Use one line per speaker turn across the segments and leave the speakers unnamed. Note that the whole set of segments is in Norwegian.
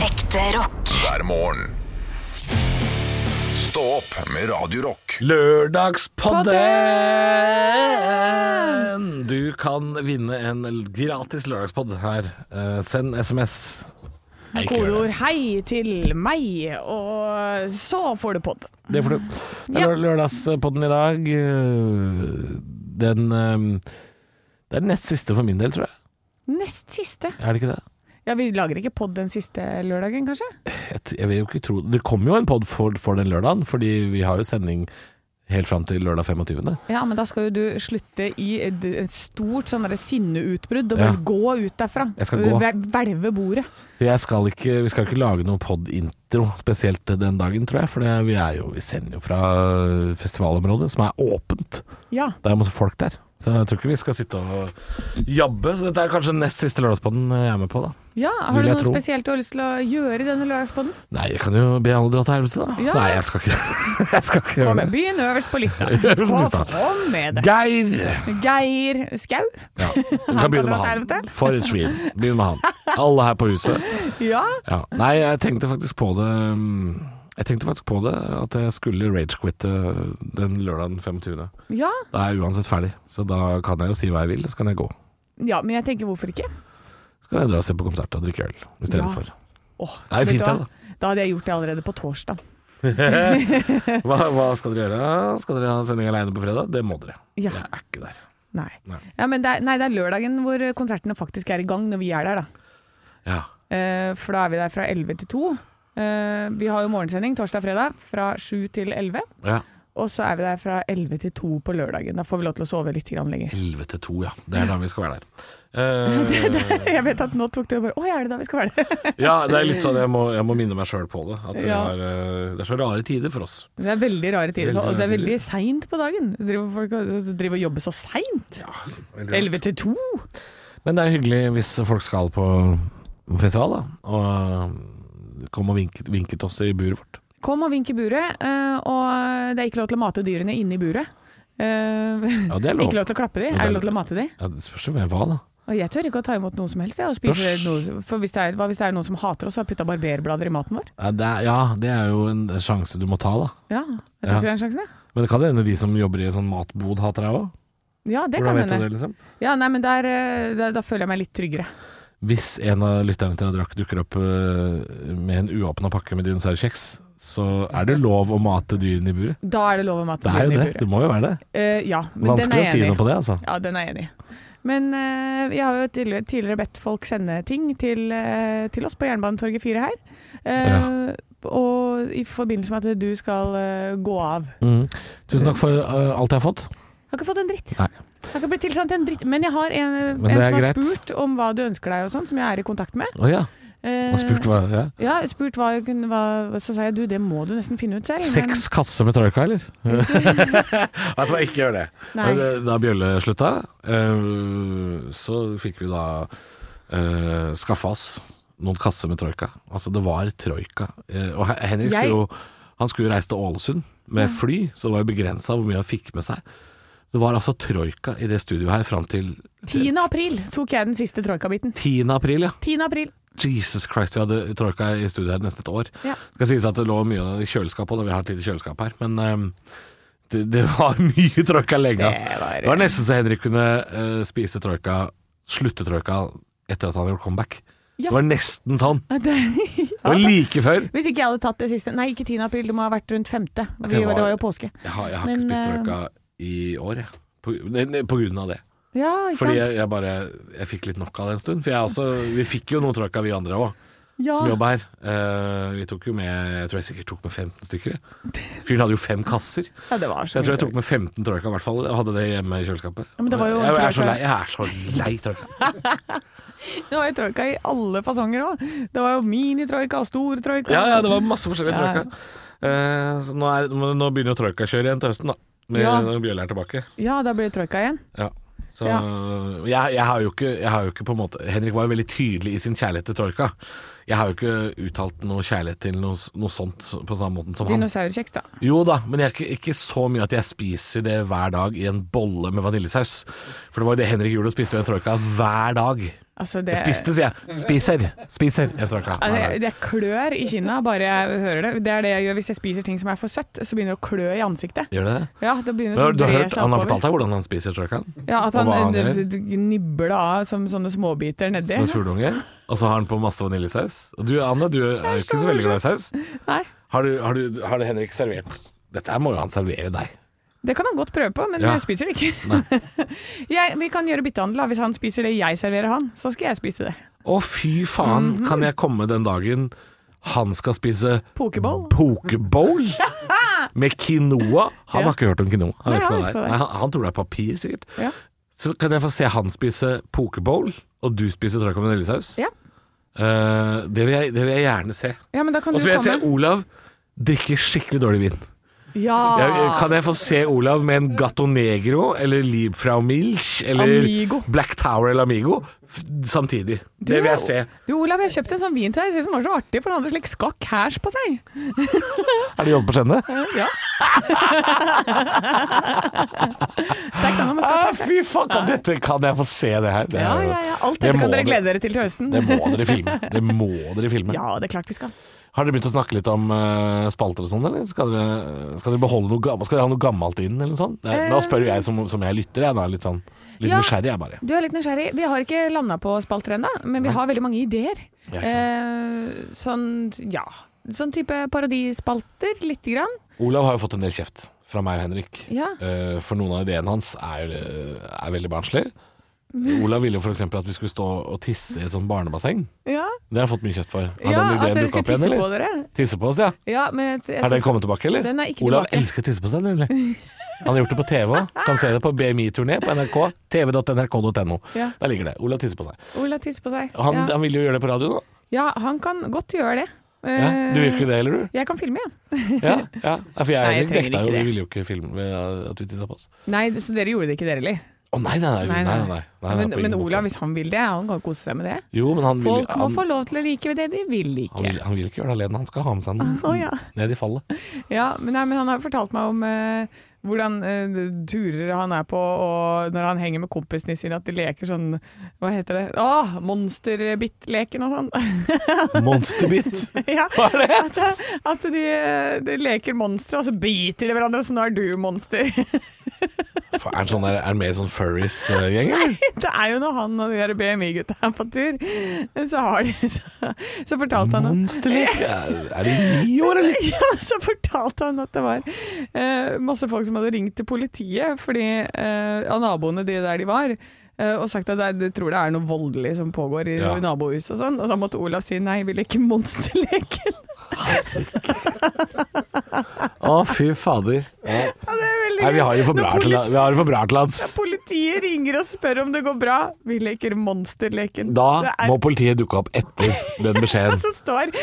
Ekte rock.
hver morgen. Stå opp med Radio Rock.
Lørdagspodden! Du kan vinne en gratis lørdagspodd her. Eh, send SMS. Nei, ikke gjør
Kodeord 'hei til meg', og så får du pod.
Det Det får du. Det er lø- lørdagspodden i dag. Eh, Den eh, Det er den nest siste for min del, tror jeg.
Nest siste.
Er det ikke det?
Ja, vi lager ikke pod den siste lørdagen, kanskje?
Jeg, t- jeg vil jo ikke tro Det kommer jo en pod for, for den lørdagen, fordi vi har jo sending helt fram til lørdag 25.
Ja, men da skal jo du slutte i et et stort sånn derre sinneutbrudd og
Ja.
bare gå ut derfra.
Jeg skal gå.
Hvel- Hvelve bordet.
Jeg skal ikke, vi skal ikke lage noen pod-intro spesielt den dagen, tror jeg. For det, vi, er jo, vi sender jo fra øh, festivalområdet, som er åpent.
Ja.
Det er masse folk der. Så jeg tror ikke vi skal sitte og jabbe. Så dette er kanskje nest siste lørdagspodden øh, jeg er med på, da.
ja. Har
Vil
du
jeg
noe
tro.
spesielt du har lyst til å gjøre i denne lørdagspodden?
Nei, jeg kan jo be alle dra til helvete, da.
Ja.
Nei, jeg skal ikke, jeg skal ikke
Kom
gjøre det.
med, Begynn øverst på lista.
Øverst på lista.
Kom med det.
Geir!
Geir Skau.
Ja, du kan begynne
dra til
med han.
helvete.
For et svin. Begynn med han. Alle her på huset.
Ja.
Ja. Nei, jeg tenkte faktisk på det mm, Jeg tenkte faktisk på det at jeg skulle ragequitte øh, den lørdagen 25.
ja.
Da er jeg uansett ferdig, så da kan jeg jo si hva jeg vil, og så kan jeg gå.
Ja, men jeg tenker hvorfor ikke?
Så kan jeg dra og se på konsert og drikke øl istedenfor.
Åh,
Det er jo
vet
fint,
du hva?
det,
Da hadde jeg gjort det allerede på torsdag.
Hva, hva skal dere gjøre? Skal dere ha sending aleine på fredag? Det må dere.
Ja.
Jeg er ikke der.
Nei.
Nei.
Ja, men det er, nei, det er lørdagen hvor konsertene faktisk er i gang når vi er der, da.
Ja.
Eh, for da er vi der fra 11 til 2. Eh, vi har jo morgensending torsdag og fredag fra 7 til 11.
ja.
Og så er vi der fra 11 til 2 på lørdagen. Da får vi lov til å sove litt grann lenger.
11 til 2, ja. Det er da vi skal være der. Eh,
Jeg vet at nå tok det jo bare Å, er det da vi skal være der?
ja, det er litt sånn jeg må, jeg må minne meg sjøl på det. At vi
Ja.
har, eh, det er så rare tider for oss.
Det er veldig rare tider.
Veldig
Og det er
rare
veldig
tider.
seint på dagen. Driver folk og driver og jobber så seint?
Veldig rart.
11 til 2?
Men det er hyggelig hvis folk skal på festival, da. Og kom og vinket, vinket oss i buret vårt.
Kom og vink i buret, eh, og det er ikke lov til å mate dyrene inne i buret. Eh,
Ja, det er lov.
ikke lov til å klappe de,
Ja, det er
er det lov til å mate de?
Ja, det spørs jo hvem hva, da.
Og jeg tør ikke å ta imot noe som helst. Jeg, og spise
Spørs.
noe, for hvis det er, hva hvis det er noen som hater oss og har putta barberblader i maten vår?
Ja det, er, ja, det er jo en sjanse du må ta, da.
Ja, jeg
Ja.
tar ikke den sjansen, jeg.
Men det kan hende de som jobber i en sånn matbod, hater deg òg.
Ja, det
Hvordan vet
kan
du
hende.
det, liksom?
Ja, nei, men der, eh, da, da føler jeg meg litt tryggere.
Hvis en av lytterne til Adrak dukker opp eh, med en uåpna pakke med dinosaurkjeks, så er det lov å mate dyrene i buret.
Da er det lov å mate
Det er jo
dyrene i
det.
buret.
Det må jo være det.
Eh, ja, men den er
Vanskelig å
jeg
si
enig
noe
i.
på det, altså.
Ja, den er jeg enig i. Men eh, jeg har jo tidligere, tidligere bedt folk sende ting til, eh, til oss på Jernbanetorget 4 her. Eh, Og i forbindelse med at du skal eh, gå av.
Mm. Tusen takk for eh, alt jeg har fått.
Jeg har ikke fått en dritt.
Nei.
Jeg har ikke blitt tilsendt en dritt. Men jeg har en, en
Men det
som
er
har
greit.
spurt om hva du ønsker deg og sånn, som jeg er i kontakt med.
Å ja.
Eh,
Og spurt hva ja.
Ja, spurt hva, jeg kunne- hva Så sa jeg du, det må du nesten finne ut selv. men-
Seks kasser med troika, eller? Vet du hva, ikke gjør det.
Nei.
Men, eh, Da Bjølle slutta, eh, så fikk vi da uh, skaffa oss noen kasser med troika. Altså, det var troika. Eh, og Hen- Henrik
Jeg-
skulle jo Han skulle jo reise til Ålesund med fly, så det var jo begrensa hvor mye han fikk med seg. Det var altså troika i det studioet her fram til
10. april tok jeg den siste troika-biten.
10. april, ja.
10. april.
Jesus Christ, vi hadde troika i studio her nesten et år.
Ja.
Det skal sies at det lå mye i kjøleskapet, og vi har et lite kjøleskap her, men ehm, det, det var mye troika lenge. ass.
Det var-
det var nesten så Henrik kunne eh, spise troika, slutte troika, etter at han gjorde comeback.
Ja.
Det var nesten sånn.
Det-
Det var like før.
Hvis ikke jeg hadde tatt det siste Nei, ikke 10. april, det må ha vært rundt 5. Vi,
Det
det,
var-
var, jo påske.
Jeg har, jeg har
Men,
ikke spist
eh,
troika i år, jeg. På, nei, nei, på grunn av det.
Ja, ikke
Fordi
sant?
jeg, jeg bare Jeg fikk litt nok av det en stund. For jeg også Vi fikk jo noe troika, vi andre òg.
Ja.
som jobber her. Eh, vi tok jo med Jeg tror jeg sikkert tok med 15 stykker. jeg. Fyren hadde jo fem kasser.
ja, det var
Så
så
jeg tror jeg
mye.
tok med 15 troika i hvert fall, og hadde det hjemme i kjøleskapet.
Ja, men det var jo
jeg, jeg, er så
troika.
lei, jeg er så lei troika.
Det var jo troika i alle fasonger òg. Det var jo mini-troika og stor troika.
Ja, ja, det var masse forskjellige
Ja.
troika. Eh, så nå, er, nå- nå begynner jo troikakjøret igjen til høsten, da. Med
Ja.
Når Bjølle er tilbake.
Ja, da blir det troika igjen.
Ja. Så jeg, jeg har jo ikke, jeg har jo ikke på en måte Henrik var jo veldig tydelig i sin kjærlighet til troika. Jeg har jo ikke uttalt noe kjærlighet til noe, s- noe sånt s- på samme måten som han.
Dinosaurkjeks, da.
Jo da, men jeg er ikke, ikke så mye at jeg spiser det hver dag i en bolle med vaniljesaus. For det var jo det Henrik Julo spiste i en troika hver dag.
Altså, det,
Jeg spiste, sier jeg. Spiser. Spiser en troika.
Altså,
hver dag.
jeg- det klør i kinna bare jeg hører det. Det er det jeg gjør hvis jeg spiser ting som er for søtt, så begynner det å klø i ansiktet.
Gjør det det?
Ja, det sånn begynner
Du har,
det å
du har
bre
hørt,
seg
han har
oppover.
fortalt deg hvordan han spiser troikaen?
Ja, at
og
han,
hva han
eh,
gjør.
d- d- nibler av som sånne småbiter nedi.
Som en fugleunge? Og så har han på masse vaniljesaus. Og du Anne, du er jo ikke så veldig glad i saus.
Nei,
Har, du, har, du, har det Henrik servert Dette her må jo han servere deg.
det kan han godt prøve på, men
Ja.
jeg spiser det ikke. jeg, vi kan gjøre byttehandel. da. Hvis han spiser det jeg serverer han, så skal jeg spise det.
Å, fy faen, kan jeg komme den dagen han skal spise
Pokeball?
pokeball? Med quinoa? Han
Ja.
har ikke hørt om quinoa. Han,
Nei,
vet ikke hva
han vet
det
ikke hva
er.
det er.
Nei, han, han tror det er papir, sikkert.
Ja.
Så kan jeg få se han spise pokeball, og du spiser trøkk og vaniljesaus?
Ja.
Eh, det, vil jeg- det vil jeg gjerne se.
Ja, men da kan
Og
du
så vil jeg se
komme.
Olav drikke skikkelig dårlig vin.
Ja.
Jeg, kan jeg få se Olav med en Gatto Negro eller Liebfrau Milch eller
Amigo.
Black Tower eller Amigo f samtidig?
Du,
det vil jeg se.
Du, Olav, jeg kjøpte en sånn vin til deg. Jeg synes den var så artig, for den hadde slik skakk hæsj på seg.
Er det jobb på skjønne?
Ja. Takk, den var med skakk
Ah,
hæsj.
fy faen, kan, dette, kan jeg få se det her? Det,
Ja,
er jo-
ja, ja. Alt
Det
dette
må
kan dere
dere-
glede dere til til høsten.
det må dere filme. Det må dere filme.
Ja, det er klart vi skal.
Har dere begynt å snakke litt om eh, spalter og sånn, eller? Skal dere, skal dere beholde noe gammelt? Skal dere ha noe gammelt inn, eller noe sånt? Nei, Nå spør jo jeg som, som jeg lytter, jeg da. Litt sånn litt
Eh. Ja.
nysgjerrig, jeg bare.
Du er litt nysgjerrig. Vi har ikke landa på spalter ennå, men vi har veldig mange ideer.
Ja, ikke
eh, sånn, ja. Sånn type parodispalter, lite grann.
Olav har jo fått en del kjeft fra meg og Henrik.
Ja.
Eh, for noen av ideene hans er, er veldig barnslige.
Mm.
Olav ville jo f.eks. at vi skulle stå og tisse i et sånt barnebasseng.
Ja,
Det har jeg fått mye kjeft for. Har
ja
den
at
ideen
dere
dukket
skal
opp igjen,
tisse på
eller?
dere.
Tisse på oss, ja.
Ja, men jeg, jeg,
Er den
tror-
kommet tilbake, eller?
Den er ikke
Olav
tilbake.
elsker å tisse på seg, nemlig. Han har gjort det på TV òg. Kan se det på BMI-turné på NRK. tv.nrk.no.
Ja.
Der ligger det. Olav tisser på seg.
Olav tisser på seg.
Og Han,
ja.
han ville jo gjøre det på radio nå.
ja, han kan godt gjøre det.
Ja. Du vil ikke
Eh,
det heller, du?
Jeg kan filme, ja.
Ja, ja. Nei, For jeg,
Eh. Nei,
Henrik
jeg trenger
nekta
ikke
jo,
det.
vi ville jo ikke filme eh, at vi tissa på oss.
Nei, så dere gjorde det ikke, dere heller.
Å nei, nei, nei. nei, nei, nei, nei, nei
Men,
på ingen
men
måte.
Olav, hvis han vil det, han kan kose seg med det.
Jo, men han vil,
Folk må
han,
få lov til å like det de vil
han,
like.
vil, han vil ikke gjøre det alene. Han skal ha med seg den
Å, ja.
ned i fallet.
Ja, men, nei, men han har fortalt meg om eh, hvordan eh, turer han er på, og når han henger med kompisene sine, at de leker sånn Hva heter det? Åh, monsterbit-leken og sånn.
Monsterbit.
ja, at, at de, eh, de leker monstre, og så biter de hverandre, og så nå er du monster.
Er han sånn der, er han med i sånn furries-gjeng, eller?
det er jo når han og de der BMI-gutta er på tur, så har de Så, så fortalte han
Monsterlek? Er, er de ni år, eller?
Ja, så fortalte han at det var eh, masse folk som hadde ringt til politiet fordi eh, av naboene de der de var, eh, og sagt at det er- de tror det er noe voldelig som pågår i
Ja.
nabohuset og sånn. Og da måtte Olav si nei, vi leker monsterleken.
Å, fy fader. Ja.
Ja, det er veldig
Nei, vi
gøy.
har det for bra
Når
til, vi har det for bra til hans.
politi- Politiet ringer og spør om det går bra. Vi leker monsterleken.
Da
Det er- Altså-
må politiet dukke opp etter den beskjeden.
Så står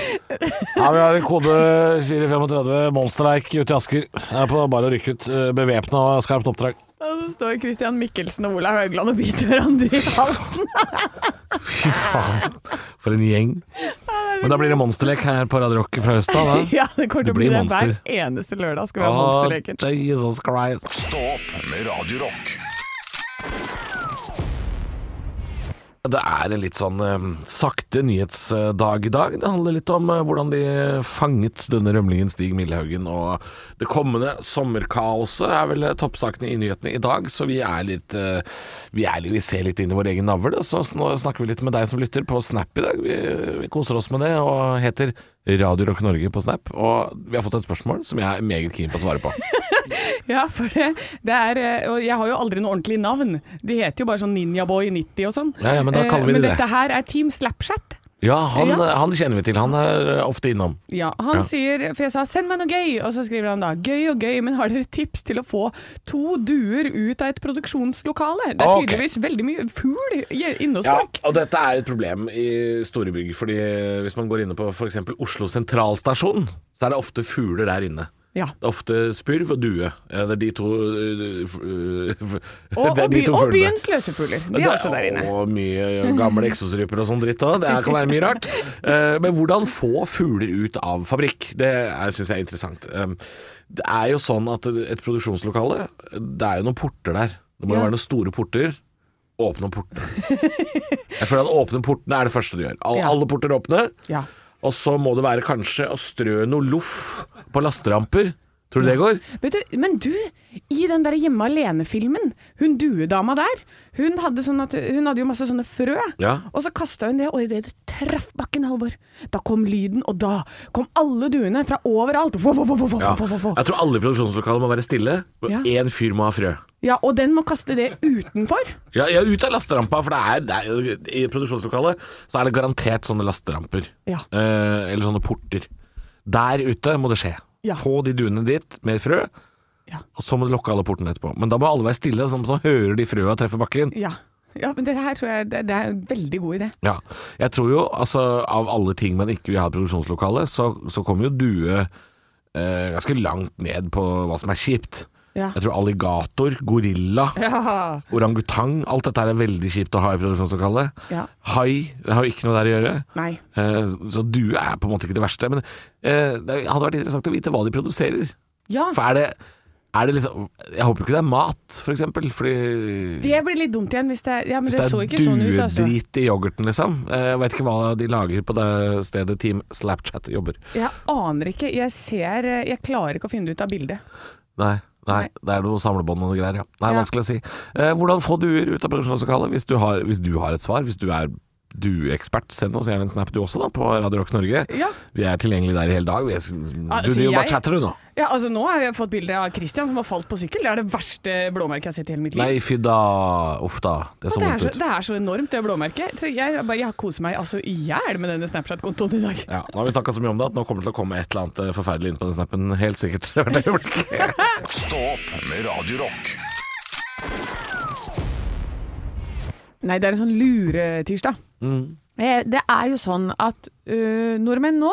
Ja, vi har en kode 435 Monsterleik ute i Asker. Jeg er på bare å rykke ut. Bevæpna og skarpt oppdrag.
og så står Christian Mikkelsen og Olav Haugland og biter hverandre i halsen.
Fy faen, for en gjeng. Men da blir det monsterlek her på Radio Rock fra høsten av.
Ja, det kommer til
Det
å bli
blir
det
monster.
hver eneste lørdag. skal vi ha
Å,
monsterleken.
Jesus Christ.
Stå opp med Radio Rock.
Det er en litt sånn eh, sakte nyhetsdag i dag. Det handler litt om eh, hvordan de fanget denne rømlingen Stig Millehaugen. Og det kommende sommerkaoset er vel eh, toppsakene i nyhetene i dag. Så vi er litt eh, Vi, er, litt- vi ser litt inn i vår egen navle. Så sn- nå snakker vi litt med deg som lytter på Snap i dag. Vi, vi koser oss med det og heter Radio Rock Norge på Snap. Og vi har fått et spørsmål som jeg er meget keen på å svare på.
Ja, for det, det er eh, Og jeg har jo aldri noe ordentlig navn. De heter jo bare sånn Ninjaboy90 og sånn.
Ja, ja, men da
Eh,
kaller vi
men
det det.
dette her er Team Slapchat.
Ja, han,
Ja.
eh, han kjenner vi til. Han er eh, ofte innom.
Ja, han
Ja.
sier For jeg sa 'send meg noe gøy', og så skriver han da 'gøy og gøy', men har dere tips til å få to duer ut av et produksjonslokale? Det er
Ok.
tydeligvis veldig mye fugl i- inne hos
Ja,
folk.
og dette er et problem i store eh, bygg. Fordi hvis man går inne på f.eks. Oslo sentralstasjon, så er det ofte fugler der inne.
Ja. Ja.
Det er ofte spurv og due. Ja, det er de to øh, f- øh, f-
Og,
det er de
og, by,
to
og
fuglene.
byens løsefugler. De er også der inne.
Og mye gamle eksosryper og sånn dritt òg. Det kan være mye rart. Eh, Men hvordan få fugler ut av fabrikk? Det syns jeg er interessant. Eh, Det er jo sånn at et produksjonslokale, det er jo noen porter der. Det må jo
Ja.
være noen store porter. Åpne portene. Jeg føler at åpne portene er det første du gjør. Alle,
Ja.
alle porter åpne.
Ja.
Og så må det være kanskje å strø noe loff på lasteramper. Tror du det går?
Vet du, men du, i den der hjemme alene-filmen, hun duedama der, hun hadde, sånn at, hun hadde jo masse sånne frø,
Ja.
og så kasta hun det, og idet det traff bakken, Halvor, da kom lyden, og da kom alle duene fra overalt. Få, få, få, få, få,
Ja.
få, få, få.
Jeg tror alle produksjonslokaler må være stille.
Ja.
Én fyr må ha frø.
ja, og den må kaste det utenfor.
Ja, ja, ut av lasterampa, for det er, det er I produksjonslokalet så er det garantert sånne lasteramper.
Ja.
Eh, eller sånne porter. Der ute må det skje.
Ja.
Få de duene dit med frø,
Ja.
og så må du lukke alle portene etterpå. Men da må alle være stille, sånn at man hører de frøa treffe bakken.
Ja. Ja, men det her tror jeg det, det er en veldig god idé.
Ja. Jeg tror jo, altså, av alle ting man ikke vil ha i produksjonslokalet, så, så kommer jo due eh, ganske langt ned på hva som er kjipt.
Ja.
Jeg tror alligator, gorilla,
Ja.
orangutang Alt dette her er veldig kjipt å ha i produksjonslokalet.
Ja.
Hai det har jo ikke noe der å gjøre.
Nei.
Eh, Så due er på en måte ikke det verste. Men eh, det hadde vært interessant å vite hva de produserer.
Ja,
For er det, er det liksom Jeg håper ikke det er mat, for eksempel. Fordi
det blir litt dumt igjen hvis det er Ja, men
hvis
det, så
det
ikke sånn ut,
er
altså.
duedrit i yoghurten, liksom. Eh, Jeg vet ikke hva de lager på det stedet Team Slapchat jobber.
Jeg aner ikke. Jeg ser eh, Jeg klarer ikke å finne det ut av bildet.
Nei. Nei,
Nei.
det er noe samlebånd og noe greier, ja. Nei,
Ja.
vanskelig å si. Eh, hvordan få duer ut av produksjonslokalet? Hvis, du har- hvis du har et svar, hvis du er dueekspert, send oss gjerne en snap du også, da, på Radio Rock Norge.
Ja.
Vi er tilgjengelig der i hele dag. Vi er, du
Altså,
driver bare
jeg-
chatter, du nå.
Ja, altså Nå har jeg fått bilde av Christian som har falt på sykkel. Det er det verste blåmerket jeg har sett i hele mitt liv.
Nei, fy da. Uff da. Det
Og
så
det, er
vondt
så,
ut.
det er så enormt, det blåmerket. Så jeg, bare, jeg koser meg altså i hjel med denne Snapchat-kontoen i dag.
Ja, nå har vi snakka så mye om det at nå kommer det til å komme et eller annet eh, forferdelig inn på den snappen. Helt sikkert. hvert øyeblikk.
Stå opp med Radio Rock.
Nei, det er en sånn luretirsdag. Eh, Det er jo sånn at ø, nordmenn nå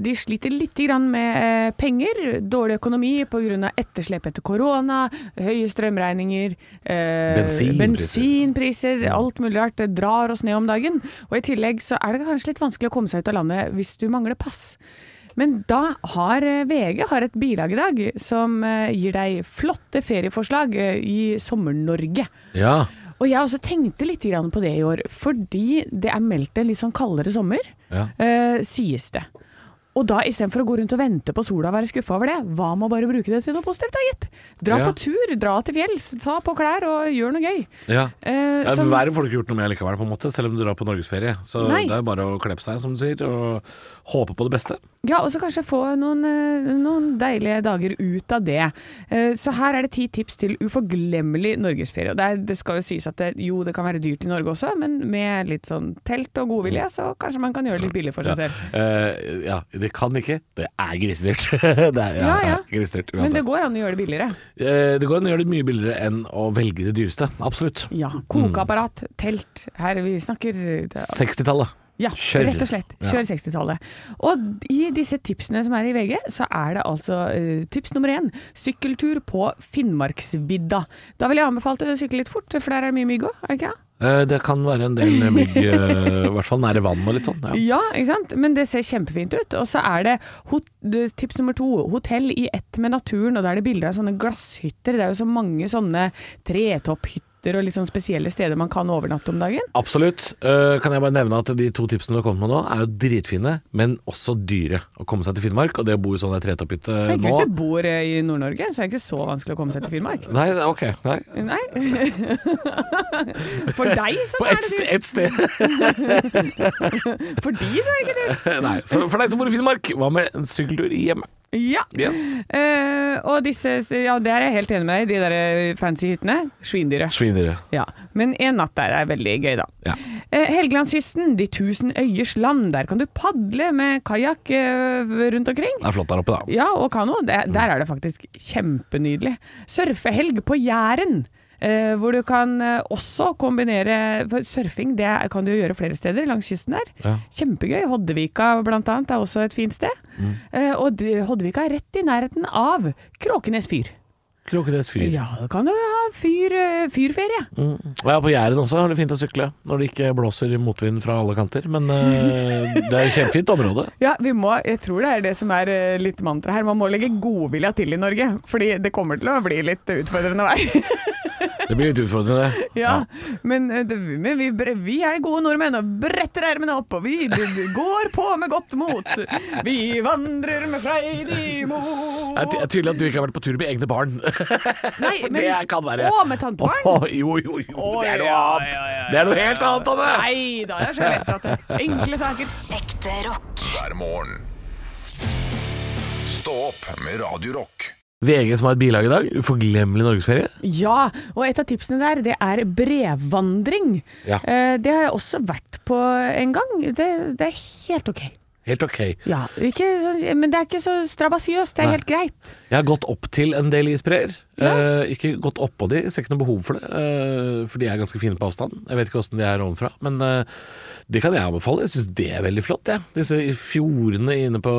de sliter litt grann med eh, penger, dårlig økonomi pga. etterslep etter korona, høye strømregninger, eh,
Bensinpriser.
bensinpriser, alt mulig rart. Det drar oss ned om dagen. Og i tillegg så er det kanskje litt vanskelig å komme seg ut av landet hvis du mangler pass. Men da har eh, VG har et bilag i dag som eh, gir deg flotte ferieforslag eh, i Sommer-Norge.
Ja.
Og jeg også tenkte litt grann på det i år, fordi det er meldt en litt sånn kaldere sommer,
Ja.
eh, sies det. Og da istedenfor å gå rundt og vente på sola og være skuffa over det, hva med å bare bruke det til noe positivt, da, gitt? Dra
Ja.
på tur, dra til fjells, ta på klær og gjør noe gøy.
ja.
Eh,
Ja,
som-
Været får du ikke gjort noe med likevel, på en måte, selv om du drar på norgesferie. Så
Nei.
det er bare å kleppe seg, som du sier, og håpe på det beste.
Ja, og så kanskje få noen, eh, noen deilige dager ut av det. Eh, Så her er det ti tips til uforglemmelig norgesferie. Og det, er, det skal jo sies at det, jo, det kan være dyrt i Norge også, men med litt sånn telt og godvilje, så kanskje man kan gjøre det litt billig for seg selv.
Eh, ja, det kan ikke. Det er grisedyrt. det er, ja,
Ja, ja.
det er grisedyrt
Men
uansett.
det går an å gjøre det billigere.
Eh, det går an å gjøre det mye billigere enn å velge det dyreste. Absolutt.
Ja. Kokeapparat, telt. Her vi snakker det-
60-tallet.
Ja,
Kjør.
rett og slett.
Ja.
Kjør 60-tallet. Og i disse tipsene som er i VG, så er det altså eh, tips nummer én sykkeltur på Finnmarksvidda. Da vil jeg anbefalt å sykle litt fort, for der er det mye mygg òg, er det ikke? det?
Eh, det kan være en del mygg, eh, i hvert fall nære vann og litt sånn. Ja.
Ja, ikke sant? Men det ser kjempefint ut. Og så er det hot tips nummer to, hotell i ett med naturen, og da er det bilder av sånne glasshytter. Det er jo så mange sånne tretopphytter og litt sånn spesielle steder man kan overnatte om dagen.
Absolutt. Eh, kan jeg bare nevne at de to tipsene du har kommet med nå, er jo dritfine, men også dyre. Å komme seg til Finnmark, og det å bo i sånn der tretopphytte
Men ikke
nå
hvis du bor eh, i Nord-Norge, så er det ikke så vanskelig å komme seg til Finnmark.
Nei, ok. Nei.
Nei. For deg så
På
er
ett
det
sted,
dyrt.
et sted.
For de så er det ikke dyrt.
Nei. For, for deg som bor i Finnmark, hva med en sykkeltur hjemme?
Ja.
Yes.
Eh, og disse, ja, det er jeg helt enig med deg i, de der eh, fancy hyttene. Svindyre.
Svindyre.
Ja, men en natt der er veldig gøy, da.
Ja.
Eh, Helgelandskysten, de tusen øyers land. Der kan du padle med kajakk eh, rundt omkring.
Det er flott der oppe, da.
Ja, og kano. Det, der er det faktisk kjempenydelig. Surfehelg på Jæren. eh, hvor du kan eh, også kombinere For surfing det kan du jo gjøre flere steder langs kysten der.
Ja.
Kjempegøy. Hoddevika blant annet er også et fint sted. Eh, og det- Hodvika er rett i nærheten av Kråkenes fyr.
Kråkenes fyr.
Ja, da kan du ha fyr, eh, fyrferie.
Mm. Og ja, på Jæren også har det fint å sykle, når det ikke blåser motvind fra alle kanter. Men eh, det er et kjempefint område.
Ja, vi må, jeg tror det er det som er eh, litt mantra her. Man må legge godvilja til i Norge, fordi det kommer til å bli litt utfordrende vær.
Det blir litt utfordrende, det.
ja, men, eh, det, men vi, bre- vi er gode nordmenn og bretter ermene opp, og vi d- d- går på med godt mot. Vi vandrer med freidig mot.
Det er tydelig at du ikke har vært på tur med egne barn.
Nei, men,
det kan være.
Å, med tantebarn.
Å, jo, jo, jo.
Å,
Det er noe
ja, ja,
annet.
ja, ja,
Det er noe helt annet, Anne.
Nei da, det er så lett at det Enkle saker.
Ekte rock.
hver morgen. Stå opp med Radio Rock.
VG som har et bilag i dag. Uforglemmelig norgesferie.
Ja, og et av tipsene der, det er brevvandring.
Ja.
Eh, det har jeg også vært på en gang. Det, det er helt ok.
Helt ok.
Ja, ikke, sånn- men det er ikke så strabasiøst. Det er
Nei.
helt greit.
Jeg har gått opp til en del isbreer.
Ja.
Eh, ikke gått oppå de, ser ikke noe behov for det. eh, for de er ganske fine på avstand. Jeg vet ikke åssen de er ovenfra, men eh, det kan jeg anbefale. Jeg syns det er veldig flott, jeg. Disse fjordene inne på,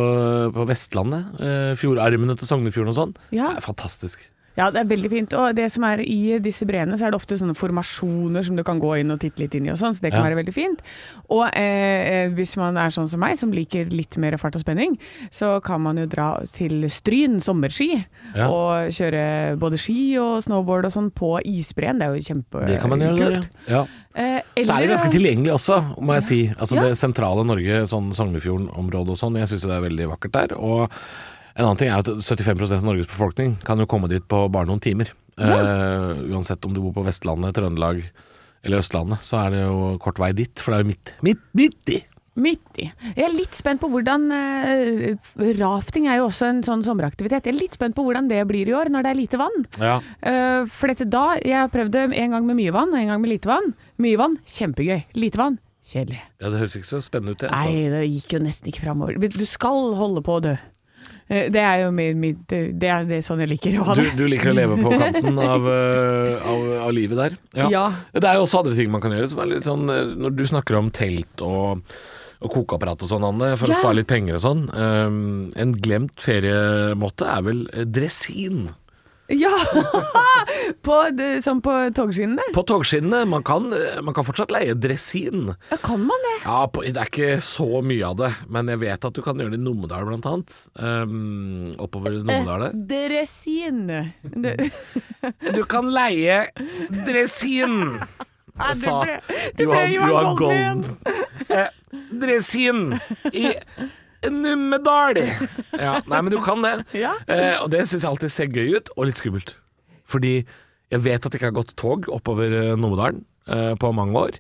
på Vestlandet. eh, fjordarmene til Sognefjorden og sånn.
Ja.
Det er fantastisk.
Ja, det er veldig fint. Og det som er i disse breene, så er det ofte sånne formasjoner som du kan gå inn og titte litt inn i og sånn, så det kan
Ja.
være veldig fint. Og eh, eh, hvis man er sånn som meg, som liker litt mer fart og spenning, så kan man jo dra til Stryn sommerski
Ja.
og kjøre både ski og snowboard og sånn på isbreen. Det er jo kjempekult.
Det kan man gjøre der, ja. ja.
Eh,
Så er det
eller-
ganske tilgjengelig også, må jeg si. Altså
Ja.
Det sentrale Norge, sånn Sognefjorden-området og sånn, jeg syns det er veldig vakkert der. Og en annen ting er at 75 av Norges befolkning kan jo komme dit på bare noen timer. Eh, uansett om du bor på Vestlandet, Trøndelag eller Østlandet, så er det jo kort vei dit, for det er jo midt, midt, midt i.
Midt i. Jeg er litt spent på hvordan eh, Rafting er jo også en sånn sommeraktivitet. Jeg er litt spent på hvordan det blir i år når det er lite vann.
Ja.
Eh, for dette da, jeg har prøvd det en gang med mye vann og en gang med lite vann. Mye vann, kjempegøy. Lite vann, kjedelig.
Det høres ikke så spennende ut, det.
Nei,
Altså.
det gikk jo nesten ikke framover. Du skal holde på å dø. Eh, Det er jo mitt, mitt Det er det er sånn jeg liker å ha
Du,
det.
du liker å leve på kanten av, eh, av, av livet der.
Ja.
Det er jo også andre ting man kan gjøre. Som er litt sånn, eh, når du snakker om telt og, og kokeapparat og sånn, Anne, for
Ja.
å spare litt penger og sånn. eh, en glemt feriemåte er vel eh, dresin.
Ja! på, det- sånn på togskinnene.
På togskinnene. Man kan, eh, man kan fortsatt leie dresin.
Ja, kan man det?
Ja, på, det er ikke så mye av det, men jeg vet at du kan gjøre det i Numedal blant annet. Eh, oppover Numedal der.
Dresin. Det,
Du kan leie dresin!
Nei, det
sa
ble, det ble Johan, Golden.
Eh, Dresin i Numedal. Ja, nei, men du kan det.
Ja.
Eh, og det syns jeg alltid ser gøy ut, og litt skummelt. Fordi jeg vet at det ikke har gått tog oppover eh, Numedalen eh, på mange år.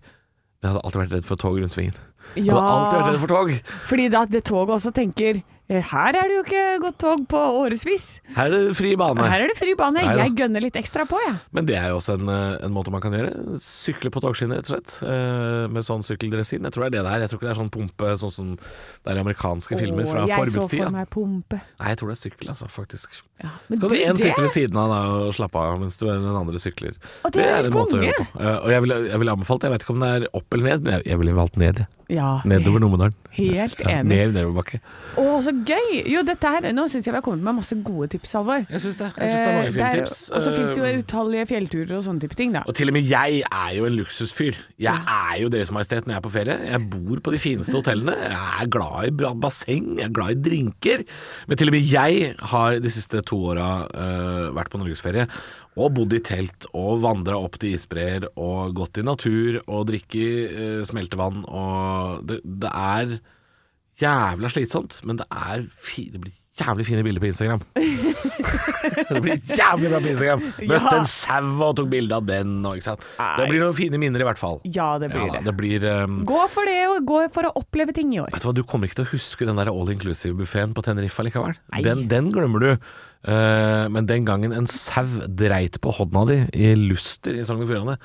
Men jeg hadde alltid vært redd for tog rundt svingen. Jeg hadde alltid vært redd for tog.
Fordi da det toget også tenker eh, her er det jo ikke gått tog på årevis.
Her er det fri bane.
Her er det fri bane.
Nei da.
Jeg gønner litt ekstra på, jeg.
Men det er jo også en, eh, en måte man kan gjøre. Sykle på togskinner, rett og slett. eh, Med sånn sykkeldresin. Jeg tror det er det der. Jeg tror ikke det er sånn pumpe sånn som det er i amerikanske filmer fra
Åh, jeg så
forbudstida.
for meg pumpe.
Nei, jeg tror det er sykkel, altså, faktisk.
Ja, men
Kan du
du,
en
det-
sitte ved siden av da, og slappe av mens du er den andre sykler.
Å, det er helt
en måte å
konge.
gjøre det på. Eh, Og jeg ville jeg ville anbefalt Jeg vet ikke om det er opp eller ned, men jeg, jeg ville valgt ned. jeg.
Ja,
Nedover Numedalen.
Helt
Ja,
enig.
ned nedoverbakke.
Å, så gøy! Jo, dette her, nå syns jeg vi har kommet med masse gode tips, Halvor.
Jeg syns det. Jeg synes det er mange fine
Eh, der-
tips.
Og så fins det
Eh,
jo utallige fjellturer og sånne type ting, da.
og til og med jeg er jo en luksusfyr. Jeg er jo Deres Majestet når jeg er på ferie. Jeg bor på de fineste hotellene. Jeg er glad i bra basseng, jeg er glad i drinker. Men til og med jeg har de siste to åra eh, vært på norgesferie og bodd i telt og vandra opp til isbreer og gått i natur og drikke eh, smeltevann og det, det er jævla slitsomt, men det er fi, det blir jævlig fine bilder på Instagram. det blir jævlig bra på Instagram. Møtte
Ja.
en sau og tok bilde av den. Og, ikke sant? Det blir noen fine minner i hvert fall.
Ja, det blir
Ja da,
det.
det blir um,
Gå for det, og gå for å oppleve ting i år.
Vet du hva, du kommer ikke til å huske den der all inclusive-buffeen på Tenerife likevel.
Nei.
Den, den glemmer du. Eh, men den gangen en sau dreit på hånda di i Luster i Sogn og Fjordane,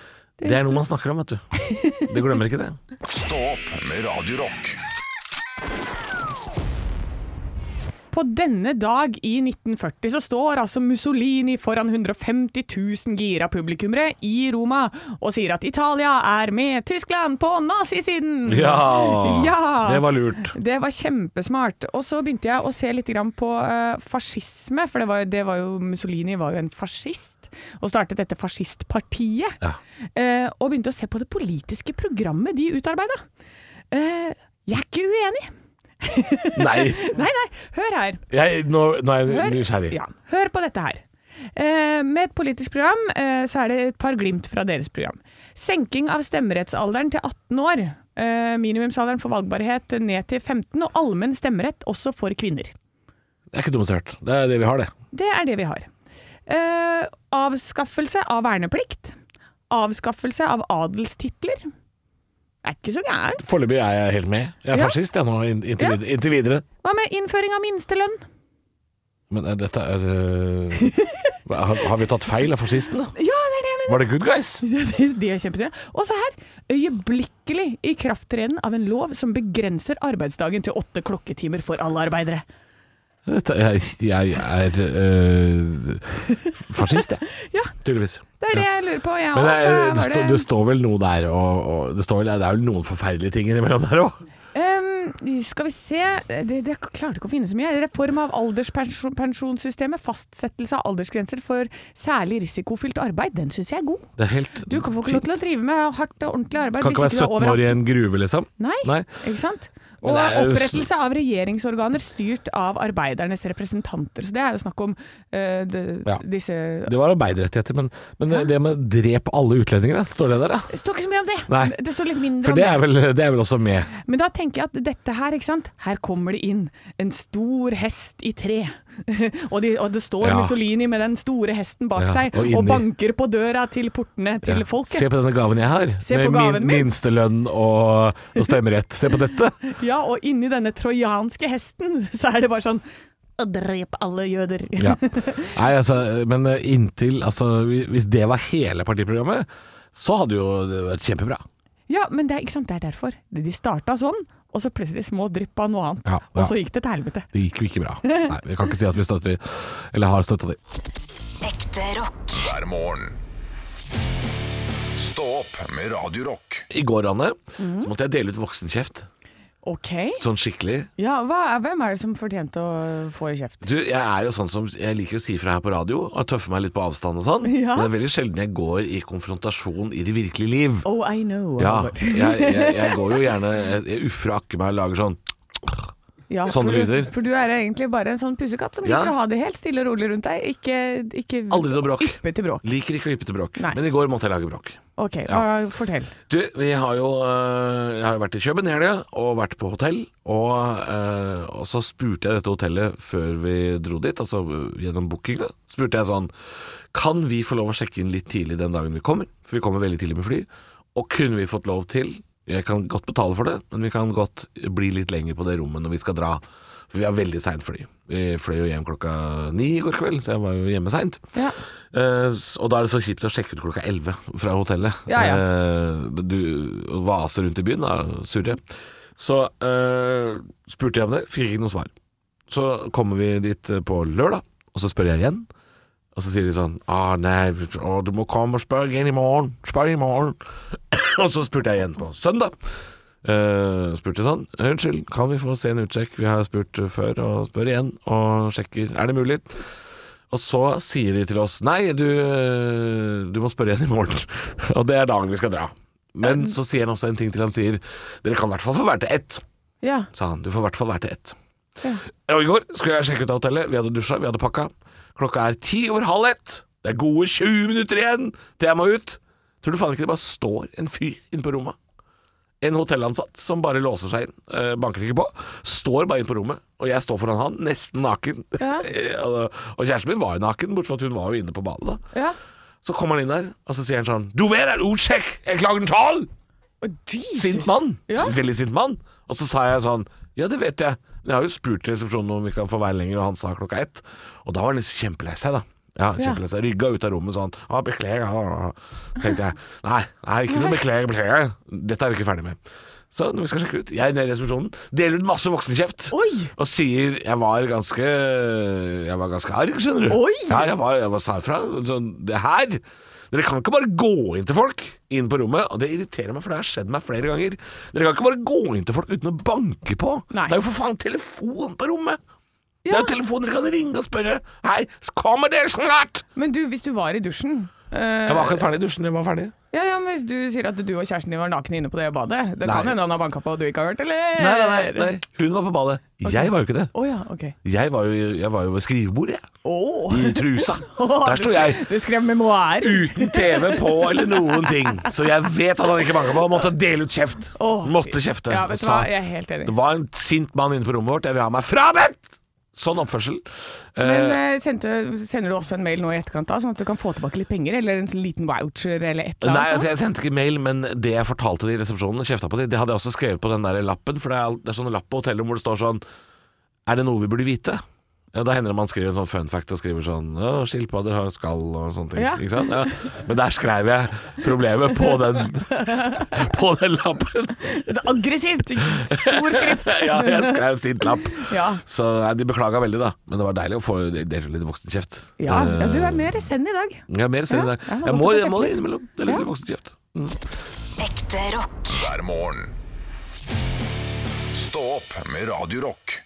det er noe man snakker om, vet du. Du glemmer ikke det.
Stå opp med Radio Rock.
På På denne dag i 1940 så står altså Mussolini foran 150 000 gira publikummere i Roma og sier at Italia er med Tyskland på nazisiden!
Ja,
Ja.
Det var lurt.
Det var kjempesmart. Og så begynte jeg å se litt grann på eh, fascisme, for det var, det var jo, Mussolini var jo en fascist, og startet dette fascistpartiet.
Ja.
Eh, og begynte å se på det politiske programmet de utarbeida. Eh, jeg er ikke uenig.
Nei,
Nei, nei, hør her.
jeg, nå, nå er jeg
Hør,
nysgjerrig.
Ja, hør på dette her. Eh, med et politisk program eh, så er det et par glimt fra deres program. Senking av stemmerettsalderen til 18 år. Eh, minimumsalderen for valgbarhet ned til 15, og allmenn stemmerett også for kvinner.
Det er ikke dumt hørt. Det er det vi har, det.
Det er det vi har. Eh, avskaffelse av verneplikt. Avskaffelse av adelstitler. Er ikke så gærent.
Foreløpig er jeg helt med. Jeg er
Ja.
fascist, jeg nå, inn- inntil,
Ja.
vid- inntil videre.
Hva med innføring av minstelønn?
Men eh, dette er eh, hva- har, har vi tatt feil av fascistene?
Ja, det er det jeg mener.
Var det good guys?
Det det er kjempesnø. Og så her, øyeblikkelig ikrafttreden av en lov som begrenser arbeidsdagen til åtte klokketimer for alle arbeidere.
Dette, jeg, jeg er eh, fascist, jeg.
Ja.
Tydeligvis.
Det er det jeg lurer på, jeg
Men det, er-
også.
det,
Var
står- det står vel noe der og, og det, står vel, det er vel noen forferdelige ting innimellom der òg?
Ehm, skal vi se det, det klarte ikke å finne så mye. Reform av alderspensjonssystemet. Fastsettelse av aldersgrenser for særlig risikofylt arbeid. Den syns jeg er god.
Det er helt
Du kan få ikke lov til å drive med hardt og ordentlig arbeid
Kan ikke være
hvis ikke du er
17 år
over
i en gruve, liksom.
Nei,
Nei.
ikke sant?
Men
Og
det er jo s-
opprettelse av regjeringsorganer styrt av arbeidernes representanter. Så det er jo snakk om eh, de,
Ja.
disse
Det var arbeiderrettigheter, men, men det med 'drep alle utlendinger', da, står det der? Da?
Det står ikke så mye om det!
Nei.
Det står litt mindre
For
om
det
det.
er, vel, det er vel også med.
Men da tenker jeg at dette her, ikke sant. Her kommer det inn en stor hest i tre. og, de, og det står
Ja.
Mussolini med den store hesten bak
Ja,
seg
og
og,
inni-
banker på døra til portene til
Ja.
folket.
Se på denne gaven jeg har,
Se
med
på gaven min.
minstelønn og, og stemmerett. Se på dette!
Ja, og inni denne trojanske hesten så er det bare sånn «Å, Drep alle jøder.
Ja. Nei, altså, men eh, inntil altså, hvi- Hvis det var hele partiprogrammet, så hadde jo det vært kjempebra.
Ja, men det er, ikke sant? det er derfor. De starta sånn, og så plutselig små drypp av noe annet.
Ja, ja.
Og så gikk det til helvete.
Det gikk jo ikke bra. Nei, Vi kan ikke si at vi støtter de, eller har støtta de.
Ekte rock.
hver morgen. Stå opp med Radio Rock.
I går, Anne,
Mhm.
så måtte jeg dele ut voksenkjeft.
Ok.
Sånn skikkelig.
Ja, hvem er det som fortjente å få i kjeft?
Du, jeg er jo sånn som Jeg liker å si fra her på radio og tøffe meg litt på avstand og sånn.
Ja.
Men det er veldig sjelden jeg går i konfrontasjon i det virkelige liv.
Oh, I know.
Ja, jeg, jeg, jeg går jo gjerne Jeg, jeg uffer og akker meg og lager sånn
Ja,
Sånne
for du,
lyder.
For du er egentlig bare en sånn pussekatt som
Ja.
liker å ha det helt stille og rolig rundt deg. Ikke, ikke
Aldri noe bråk.
yppe til bråk.
Liker ikke å yppe til bråk.
Nei.
Men i går måtte jeg lage bråk.
Ok,
Ja.
hva- fortell.
Du, vi har jo øh, Jeg har jo vært i København i helga, og vært på hotell. Og, øh, og så spurte jeg dette hotellet før vi dro dit, altså øh, gjennom bookinga. Spurte jeg sånn Kan vi få lov å sjekke inn litt tidlig den dagen vi kommer? For vi kommer veldig tidlig med fly. Og kunne vi fått lov til Jeg kan godt betale for det, men vi kan godt bli litt lenger på det rommet når vi skal dra. For vi har veldig seint fly. Vi fløy jo hjem klokka ni i går kveld, så jeg var jo hjemme seint.
Ja.
Eh, s- og da er det så kjipt å sjekke ut klokka 11 fra hotellet.
Ja, ja.
Eh, du vaser rundt i byen, da, surre. Så eh, spurte jeg om det, fikk ikke noe svar. Så kommer vi dit eh, på lørdag, og så spør jeg igjen. Og så sier de sånn ah, nei, å, du må komme og spørre igjen i morgen. Spør i morgen. og så spurte jeg igjen på søndag. Eh, spurte sånn Unnskyld, kan vi få se en utsjekk? Vi har spurt eh, før, og spør igjen. Og sjekker. Er det mulig? Og så sier de til oss Nei, du, du må spørre igjen i morgen Og det er dagen vi skal dra Men så sier han også en ting til han sier Dere kan i hvert fall få være til ett
Ja.
Sa han, du får i hvert fall være til ett
Ja.
Og i går skulle jeg sjekke ut av hotellet Vi hadde dusja, vi hadde pakka Klokka er ti over halv ett Det er gode 20 minutter igjen til jeg må ut Tror du faen ikke det bare står en fyr inne på rommet en hotellansatt som bare låser seg inn, eh, banker ikke på, står bare inn på rommet, og jeg står foran han, nesten naken. og, og kjæresten min var jo naken, bortsett fra at hun var jo inne på badet da.
ja.
Så kommer han inn der, og så sier han sånn Du vet at utsjekk er klokken tolv!
Å, Jesus.
Sint mann.
Ja.
Veldig sint mann. Og så sa jeg sånn Ja, det vet jeg. Men jeg har jo spurt resepsjonen om vi kan få være lenger, og han sa klokka ett. Og da var han nesten kjempelei seg, da. Ja,
Ja.
kjempelei seg. Rygga ut av rommet sånn. Å, beklager. å, å». Så tenkte jeg Nei, nei ikke noe beklager, beklager. Dette er vi ikke ferdig med. Så vi skal sjekke ut. Jeg er nede i resepsjonen, deler ut masse voksenkjeft.
Oi!
Og sier Jeg var ganske Jeg var ganske arg, skjønner du.
Oi!
Ja, jeg var, jeg var sa ifra. Sånn, det her Dere kan ikke bare gå inn til folk inn på rommet. Og det irriterer meg, for det har skjedd meg flere ganger. Dere kan ikke bare gå inn til folk uten å banke på.
Nei.
Det er jo for faen telefon på rommet! Det er
Ja.
jo telefon dere kan ringe og spørre Hei, kommer dere snart?
Men du, hvis du var i dusjen eh,
Jeg var akkurat ferdig i dusjen. Jeg var ferdig.
Ja, ja, men Hvis du sier at du og kjæresten din var nakne inne på det badet Det kan
Nei.
hende han har banka på og du ikke har hørt, eller?
Nei, nei, nei, nei.
Eh.
Hun var på badet. Jeg var jo ikke det.
Å ja, ok.
Jeg var jo, jeg var jo ved skrivebordet, jeg.
Åh.
I trusa. Der sto jeg.
Du skrev memoar.
Uten TV på eller noen ting. Så jeg vet at han ikke banka på. Han måtte dele ut kjeft.
Åh.
Måtte kjefte.
Ja,
og
vet du
sa-
hva, jeg er helt enig.
det var en sint mann inne på rommet vårt. Jeg vil ha meg frabedt! Sånn oppførsel.
Men
Eh,
eh, sendte, sender du også en mail nå i etterkant, da, sånn at du kan få tilbake litt penger? Eller en sånn liten voucher, eller et eller
Nei,
annet?
altså jeg sendte ikke mail, men det jeg fortalte de i resepsjonen, kjefta på de, det hadde jeg også skrevet på den der lappen. For det er, alt- det er sånn lapp på hotellet hvor det står sånn Er det noe vi burde vite? Ja, Da hender det man skriver en sånn fun fact og skriver sånn Å, skilpadder har skall og sånne ting.
Ja.
Ikke sant? Ja. Men der skrev jeg problemet på den, på den lappen.
Det er aggressivt! Stor skrift!
ja, jeg skrev sint lapp.
Ja.
Så nei, de beklaga veldig, da. Men det var deilig å få delt litt voksenkjeft.
Ja, ja, du
Eh,
er mer send i dag.
Jeg er mer sen i
Ja,
dag.
ja, det er
Jeg
godt
må
å få
jeg må
kjeft
det innimellom. Det er litt voksenkjeft.
Ekte rock.
hver morgen. Stå opp med Radio Rock.